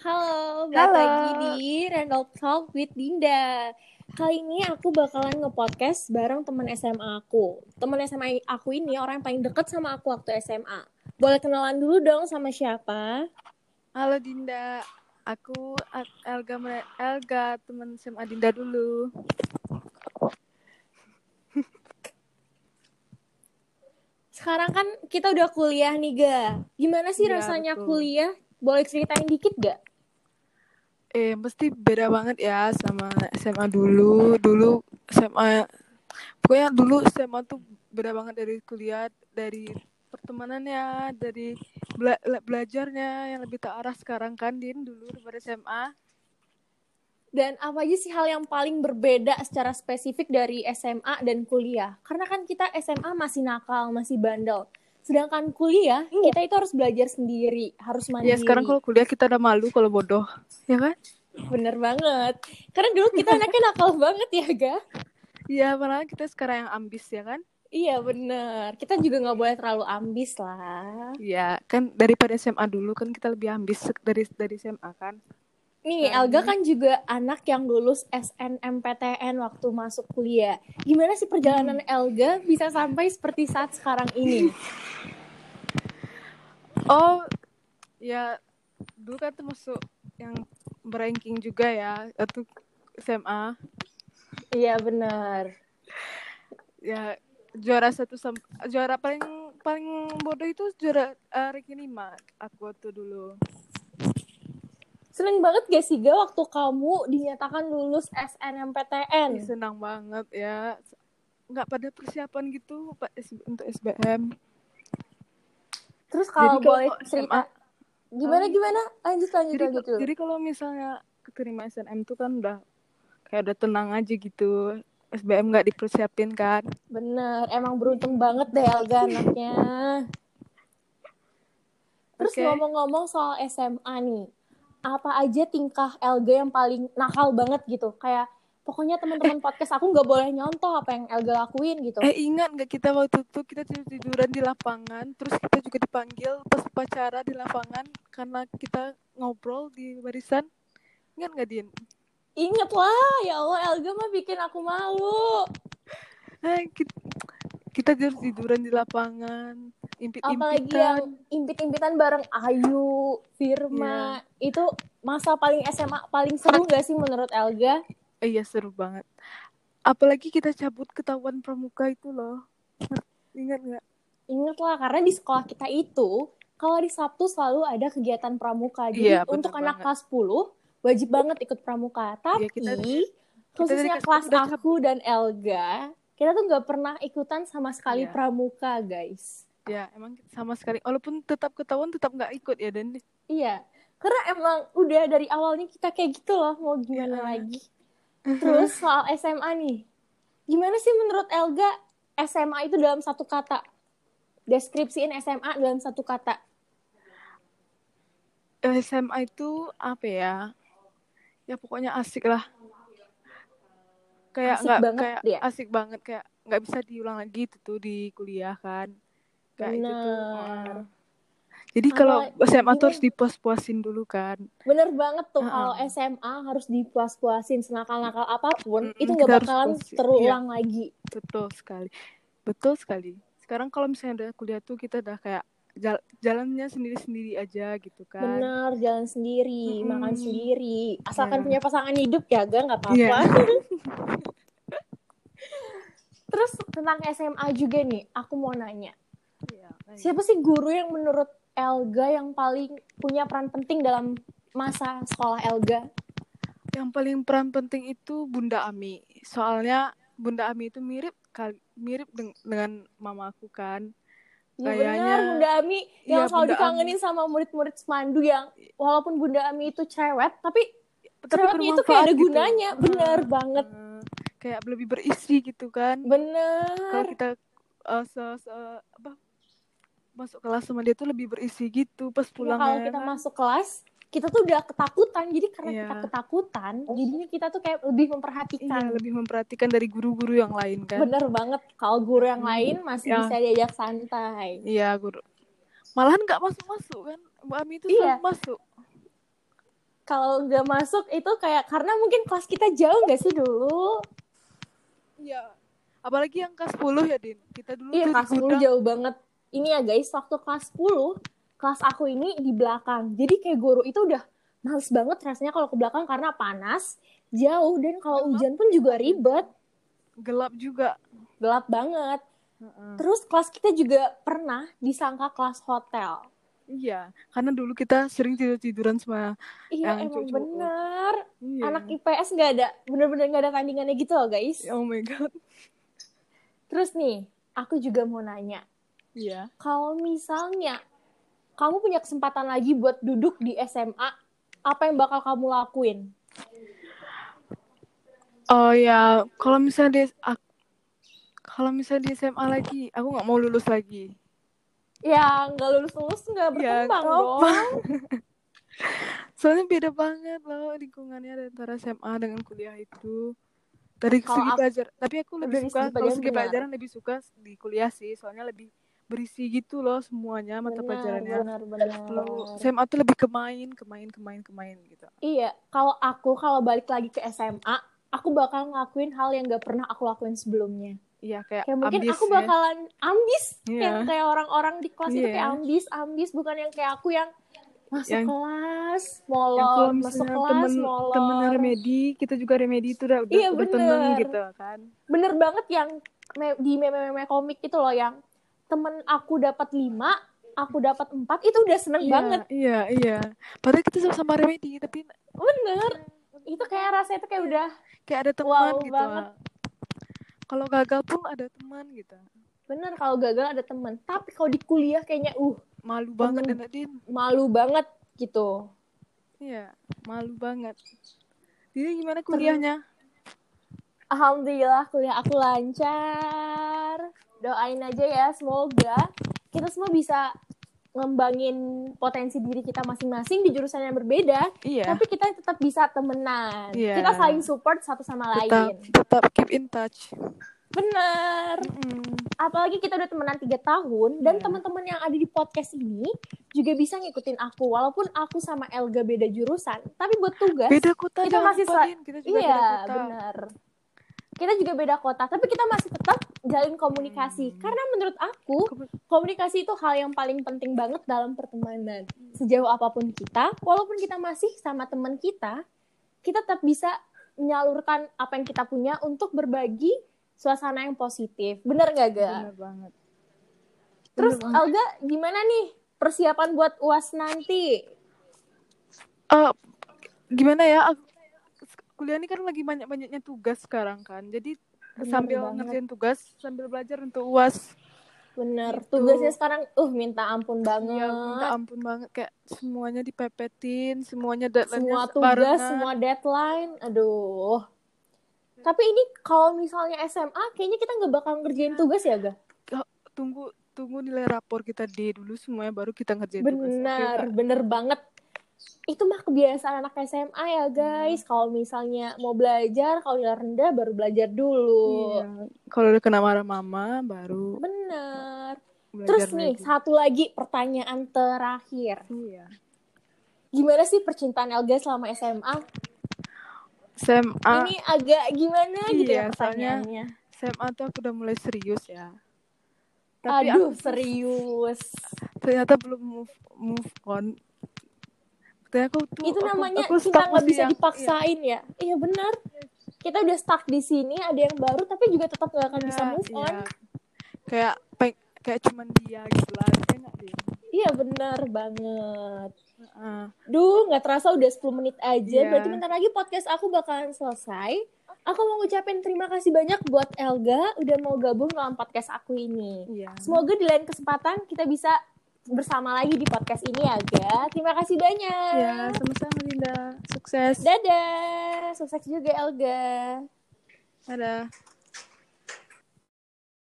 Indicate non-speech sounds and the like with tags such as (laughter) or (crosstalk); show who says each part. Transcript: Speaker 1: Halo, balik
Speaker 2: Halo.
Speaker 1: lagi di Randall Talk with Dinda. Kali ini aku bakalan nge-podcast bareng teman SMA aku. Teman SMA aku ini orang yang paling deket sama aku waktu SMA. Boleh kenalan dulu dong sama siapa?
Speaker 2: Halo Dinda, aku A- Elga Mere- Elga teman SMA Dinda dulu.
Speaker 1: Sekarang kan kita udah kuliah nih, Ga. Gimana sih
Speaker 2: Iya,
Speaker 1: rasanya
Speaker 2: betul.
Speaker 1: kuliah? Boleh ceritain dikit gak?
Speaker 2: Eh mesti beda banget ya sama SMA dulu. Dulu SMA pokoknya dulu SMA tuh beda banget dari kuliah, dari pertemanannya, dari bela- le- belajarnya yang lebih terarah sekarang kan Din dulu daripada SMA.
Speaker 1: Dan apa aja sih hal yang paling berbeda secara spesifik dari SMA dan kuliah? Karena kan kita SMA masih nakal, masih bandel. Sedangkan kuliah, kita itu harus belajar sendiri, harus mandiri.
Speaker 2: Ya sekarang kalau kuliah kita udah malu kalau bodoh, ya kan?
Speaker 1: Bener banget. Karena dulu kita anaknya nakal (laughs) banget ya, Ga?
Speaker 2: Iya, malah kita sekarang yang ambis ya kan?
Speaker 1: Iya, bener. Kita juga nggak boleh terlalu ambis lah.
Speaker 2: Iya, kan daripada SMA dulu kan kita lebih ambis dari dari SMA kan.
Speaker 1: Nih,
Speaker 2: Sekarang
Speaker 1: Elga kan juga anak yang lulus SNMPTN waktu masuk kuliah. Gimana sih perjalanan Elga bisa sampai seperti saat sekarang ini?
Speaker 2: Oh, ya dulu kan termasuk yang beranking juga ya itu SMA.
Speaker 1: Iya, bener.
Speaker 2: Ya juara satu sam- juara paling paling bodoh itu juara eh, ranking 5 aku tuh dulu.
Speaker 1: Seneng banget gak sih Ga waktu kamu dinyatakan lulus SNMPTN?
Speaker 2: Ih, senang banget ya. Nggak pada persiapan gitu Pak S- untuk SBM.
Speaker 1: Terus kalau
Speaker 2: Jadi kalau
Speaker 1: boleh
Speaker 2: SMA
Speaker 1: cerita gimana gimana? Lanjut lanjut
Speaker 2: Oh, iya. jadi,
Speaker 1: lanjut dulu.
Speaker 2: jadi kalau misalnya keterima SNM tuh kan udah kayak udah tenang aja gitu SBM nggak dipersiapin kan
Speaker 1: Bener, emang beruntung banget deh
Speaker 2: Iya.
Speaker 1: Elga anaknya. Terus
Speaker 2: Oke.
Speaker 1: ngomong-ngomong soal SMA nih, apa aja tingkah Elga yang paling nakal banget gitu? Kayak pokoknya teman-teman podcast aku nggak boleh nyontoh apa yang Elga lakuin gitu.
Speaker 2: eh ingat nggak kita waktu itu kita tidur tiduran di lapangan terus kita juga dipanggil pas upacara di lapangan karena kita ngobrol di barisan ingat nggak din
Speaker 1: Ingat lah, ya Allah Elga mah bikin aku malu.
Speaker 2: Eh, kita, kita tidur tiduran di lapangan impit
Speaker 1: apalagi yang
Speaker 2: impitan
Speaker 1: impit-impitan bareng Ayu, Firma,
Speaker 2: Iya.
Speaker 1: itu masa paling SMA paling seru gak sih menurut Elga?
Speaker 2: eh, iya seru banget apalagi kita cabut ketahuan pramuka itu loh ingat nggak
Speaker 1: Ingatlah karena di sekolah kita itu kalau hari Sabtu selalu ada kegiatan pramuka. Jadi
Speaker 2: Iya, bener
Speaker 1: untuk anak
Speaker 2: banget.
Speaker 1: kelas 10 wajib banget ikut pramuka. Tapi
Speaker 2: Iya, kita-
Speaker 1: khususnya
Speaker 2: dari kelas
Speaker 1: kelas
Speaker 2: 10 udah
Speaker 1: aku dan Elga, kita tuh nggak pernah ikutan sama sekali
Speaker 2: Iya.
Speaker 1: pramuka, guys.
Speaker 2: ya emang sama sekali walaupun tetap ketahuan tetap nggak ikut ya dan
Speaker 1: Iya, karena emang udah dari awalnya kita kayak gitu loh, mau gimana
Speaker 2: Iya.
Speaker 1: lagi. Terus soal SMA nih, gimana sih menurut Elga SMA itu dalam satu kata? Deskripsiin SMA dalam satu kata.
Speaker 2: SMA itu apa ya? Ya pokoknya asik lah. Kayak
Speaker 1: Asik
Speaker 2: nggak
Speaker 1: banget
Speaker 2: kayak
Speaker 1: dia.
Speaker 2: asik banget kayak nggak bisa diulang lagi itu tuh di kuliah kan. Kayak itu tuh.
Speaker 1: Bener.
Speaker 2: uh. Jadi
Speaker 1: Apa-
Speaker 2: kalau SMA
Speaker 1: gimana?
Speaker 2: tuh harus dipuas-puasin dulu kan.
Speaker 1: Bener banget tuh
Speaker 2: Mm-mm.
Speaker 1: kalau SMA harus dipuas-puasin senakal-nakal apapun,
Speaker 2: Mm-mm,
Speaker 1: itu nggak
Speaker 2: kita harus Iya.
Speaker 1: bakalan
Speaker 2: puasin.
Speaker 1: terulang lagi.
Speaker 2: Betul sekali. Betul sekali. Sekarang kalau misalnya udah kuliah tuh kita udah kayak jal- jalannya sendiri-sendiri aja gitu kan.
Speaker 1: Bener, jalan sendiri,
Speaker 2: Mm-mm.
Speaker 1: makan sendiri. Asalkan
Speaker 2: Iya.
Speaker 1: punya pasangan hidup ya, gak nggak apa-apa.
Speaker 2: Iya.
Speaker 1: (laughs) Terus tentang SMA juga nih, aku mau nanya.
Speaker 2: Iya.
Speaker 1: Siapa sih guru yang menurut Elga yang paling punya peran penting dalam masa sekolah Elga?
Speaker 2: Yang paling peran penting itu Bunda Ami. Soalnya Bunda Ami itu mirip kali mirip deng- dengan mama aku kan.
Speaker 1: Ya
Speaker 2: Kayaknya-
Speaker 1: benar, Bunda Ami yang
Speaker 2: Iya,
Speaker 1: selalu
Speaker 2: Bunda
Speaker 1: dikangenin sama murid-murid Semandu yang walaupun Bunda Ami itu cewek, tapi, ceweknya itu kayak ada
Speaker 2: bermanfaat gitu.
Speaker 1: gunanya. Bener banget.
Speaker 2: Eh, Kayak lebih berisi gitu kan. Kalau
Speaker 1: Bener.
Speaker 2: kita eh, se- se- apa, masuk kelas sama dia tuh lebih berisi gitu pas
Speaker 1: Ya,
Speaker 2: pulang.
Speaker 1: kalau kita masuk kelas, kita tuh udah ketakutan. Jadi karena
Speaker 2: Iya.
Speaker 1: kita ketakutan, jadinya kita tuh kayak lebih memperhatikan.
Speaker 2: Iya, lebih memperhatikan dari guru-guru yang lain kan.
Speaker 1: Bener banget. Kalau guru yang lain masih
Speaker 2: Ya.
Speaker 1: bisa diajak santai.
Speaker 2: Iya, guru. Malahan nggak masuk-masuk kan. Bu Ami itu
Speaker 1: Iya.
Speaker 2: selalu masuk.
Speaker 1: kalau nggak masuk itu kayak karena mungkin kelas kita jauh nggak sih dulu?
Speaker 2: Iya. Apalagi yang kelas 10 ya, Din. Kita dulu
Speaker 1: Iya
Speaker 2: tuh di
Speaker 1: kelas 10
Speaker 2: gudang.
Speaker 1: jauh banget. Ini ya guys, waktu kelas 10, kelas aku ini di belakang. Jadi kayak guru itu udah males banget rasanya kalau ke belakang karena panas, jauh, dan
Speaker 2: Iya.
Speaker 1: kalau hujan pun juga ribet,
Speaker 2: gelap juga.
Speaker 1: gelap banget. Terus kelas kita juga pernah disangka kelas hotel.
Speaker 2: Iya, karena dulu kita sering tidur-tiduran sama
Speaker 1: Iya
Speaker 2: Yang
Speaker 1: emang
Speaker 2: cucu.
Speaker 1: bener.
Speaker 2: Iya.
Speaker 1: Anak IPS nggak ada, bener-bener nggak ada tandingannya gitu loh guys.
Speaker 2: Oh my god.
Speaker 1: Terus nih, aku juga mau nanya.
Speaker 2: Iya.
Speaker 1: Kalau misalnya kamu punya kesempatan lagi buat duduk di SMA, apa yang bakal kamu lakuin?
Speaker 2: Oh ya, kalau misalnya di ak- kalau misalnya di SMA lagi, aku nggak mau lulus lagi.
Speaker 1: Ya, nggak lulus-lulus nggak
Speaker 2: Ya,
Speaker 1: berkembang dong.
Speaker 2: kenapa? (laughs) Soalnya beda banget loh lingkungannya antara SMA dengan kuliah itu. Dari
Speaker 1: Kalau
Speaker 2: segi
Speaker 1: aku-
Speaker 2: pelajaran, tapi aku lebih
Speaker 1: dari
Speaker 2: suka
Speaker 1: segi
Speaker 2: kalau
Speaker 1: pelajaran
Speaker 2: segi
Speaker 1: benar.
Speaker 2: pelajaran lebih suka di kuliah sih, soalnya lebih berisi gitu loh semuanya mata
Speaker 1: Benar,
Speaker 2: pelajarannya.
Speaker 1: benar, benar.
Speaker 2: Kalau SMA tuh lebih ke main, ke main, ke main, ke main gitu.
Speaker 1: Iya, kalau aku kalau balik lagi ke SMA, aku bakal ngelakuin hal yang nggak pernah aku lakuin sebelumnya.
Speaker 2: Iya kayak,
Speaker 1: Kayak mungkin
Speaker 2: ambis
Speaker 1: aku
Speaker 2: ya.
Speaker 1: bakalan ambis,
Speaker 2: Iya.
Speaker 1: yang kayak orang-orang di kelas itu
Speaker 2: Iya.
Speaker 1: kayak ambis, ambis bukan yang kayak aku yang masuk
Speaker 2: Yang-
Speaker 1: kelas,
Speaker 2: yang
Speaker 1: molor,
Speaker 2: kalau
Speaker 1: masuk
Speaker 2: misalnya
Speaker 1: kelas,
Speaker 2: temen
Speaker 1: molor.
Speaker 2: temen remedi kita juga remedi itu udah udah,
Speaker 1: Iya,
Speaker 2: udah temen
Speaker 1: bener.
Speaker 2: gitu kan
Speaker 1: bener banget yang me- di meme-meme komik itu loh yang temen aku dapat lima aku dapat empat itu udah seneng
Speaker 2: iya,
Speaker 1: banget
Speaker 2: iya iya padahal kita sama-sama remedi tapi
Speaker 1: bener itu kayak rasanya itu kayak udah
Speaker 2: kayak ada teman
Speaker 1: Wow
Speaker 2: gitu
Speaker 1: banget.
Speaker 2: kalau gagal pun ada teman gitu
Speaker 1: bener kalau gagal ada temen tapi kalau di kuliah kayaknya uh
Speaker 2: malu banget
Speaker 1: Temen.
Speaker 2: dan Din
Speaker 1: malu banget gitu
Speaker 2: iya malu banget jadi gimana kuliahnya
Speaker 1: alhamdulillah kuliah aku lancar doain aja ya semoga kita semua bisa ngembangin potensi diri kita masing-masing di jurusan yang berbeda
Speaker 2: iya
Speaker 1: tapi kita tetap bisa temenan.
Speaker 2: Iya.
Speaker 1: Kita saling support satu sama
Speaker 2: tetap
Speaker 1: lain.
Speaker 2: tetap keep in touch
Speaker 1: Bener.
Speaker 2: Mm-mm.
Speaker 1: Apalagi kita udah temenan tiga tahun dan
Speaker 2: Iya.
Speaker 1: teman-teman yang ada di podcast ini juga bisa ngikutin aku walaupun aku sama Elga beda jurusan. Tapi buat tugas
Speaker 2: beda kota
Speaker 1: Kita
Speaker 2: jangan
Speaker 1: masih
Speaker 2: lupa,
Speaker 1: sa-
Speaker 2: Din. kita juga
Speaker 1: iya
Speaker 2: beda kota
Speaker 1: bener. Kita juga beda kota, tapi kita masih tetap jalin komunikasi.
Speaker 2: Hmm.
Speaker 1: Karena menurut aku,
Speaker 2: Komu-
Speaker 1: komunikasi itu hal yang paling penting banget dalam pertemanan. Sejauh apapun kita, walaupun kita masih sama teman kita, kita tetap bisa menyalurkan apa yang kita punya untuk berbagi suasana yang positif. Bener gak, Ga?
Speaker 2: bener banget
Speaker 1: Terus,
Speaker 2: Bener banget.
Speaker 1: Alga, gimana nih persiapan buat UAS nanti?
Speaker 2: Eh, gimana ya aku- kuliah ini kan lagi banyak banyaknya tugas sekarang kan jadi
Speaker 1: Bener
Speaker 2: sambil
Speaker 1: Iya, banget.
Speaker 2: ngerjain tugas sambil belajar untuk uas
Speaker 1: Bener,
Speaker 2: Gitu.
Speaker 1: tugasnya sekarang, uh, minta ampun banget.
Speaker 2: ya minta ampun banget kayak semuanya dipepetin semuanya Nah, deadline
Speaker 1: semua tugas,
Speaker 2: kan.
Speaker 1: semua deadline, aduh. Tapi ini kalau misalnya SMA, kayaknya kita nggak bakal ngerjain tugas ya, Ga?
Speaker 2: tunggu tunggu nilai rapor kita D dulu semuanya baru kita ngerjain tugas Oke,
Speaker 1: Benar,
Speaker 2: Kak?
Speaker 1: bener banget. Itu mah kebiasaan anak SMA ya
Speaker 2: Hmm.
Speaker 1: guys. Kalau misalnya mau belajar, kalau nilai rendah baru belajar dulu.
Speaker 2: Iya. kalau udah kena marah mama baru
Speaker 1: Bener. Terus
Speaker 2: belajar
Speaker 1: nih,
Speaker 2: lagi.
Speaker 1: satu lagi pertanyaan terakhir.
Speaker 2: iya
Speaker 1: Gimana sih percintaan Elga selama SMA?
Speaker 2: SMA
Speaker 1: Ini agak gimana gitu ya
Speaker 2: Ah. Iya, soalnya-
Speaker 1: pertanyaannya.
Speaker 2: SMA tuh aku udah mulai serius ya
Speaker 1: Aduh,
Speaker 2: aku tuh
Speaker 1: serius.
Speaker 2: ternyata belum move move on. Ternyata aku tuh
Speaker 1: Itu
Speaker 2: aku-
Speaker 1: namanya
Speaker 2: aku
Speaker 1: kita
Speaker 2: stuck
Speaker 1: nggak
Speaker 2: masih
Speaker 1: bisa
Speaker 2: yang-
Speaker 1: dipaksain ya. Iya benar. Kita udah stuck di sini, ada yang baru tapi juga tetap nggak akan
Speaker 2: iya,
Speaker 1: bisa move on.
Speaker 2: iya. Kayak peng- kayak cuman dia gitu lah. Iya nggak, Din?
Speaker 1: Iya benar banget.
Speaker 2: Heeh.
Speaker 1: Duh, nggak terasa udah 10 menit aja.
Speaker 2: Iya.
Speaker 1: Berarti bentar lagi podcast aku bakalan selesai. Aku mau ngucapin terima kasih banyak buat Elga udah mau gabung dalam podcast aku ini.
Speaker 2: iya.
Speaker 1: Semoga di lain kesempatan kita bisa bersama lagi di podcast ini ya, Ga. Terima kasih banyak.
Speaker 2: Iya, sama-sama Linda. Sukses.
Speaker 1: Dadah. Sukses juga Elga.
Speaker 2: Dadah.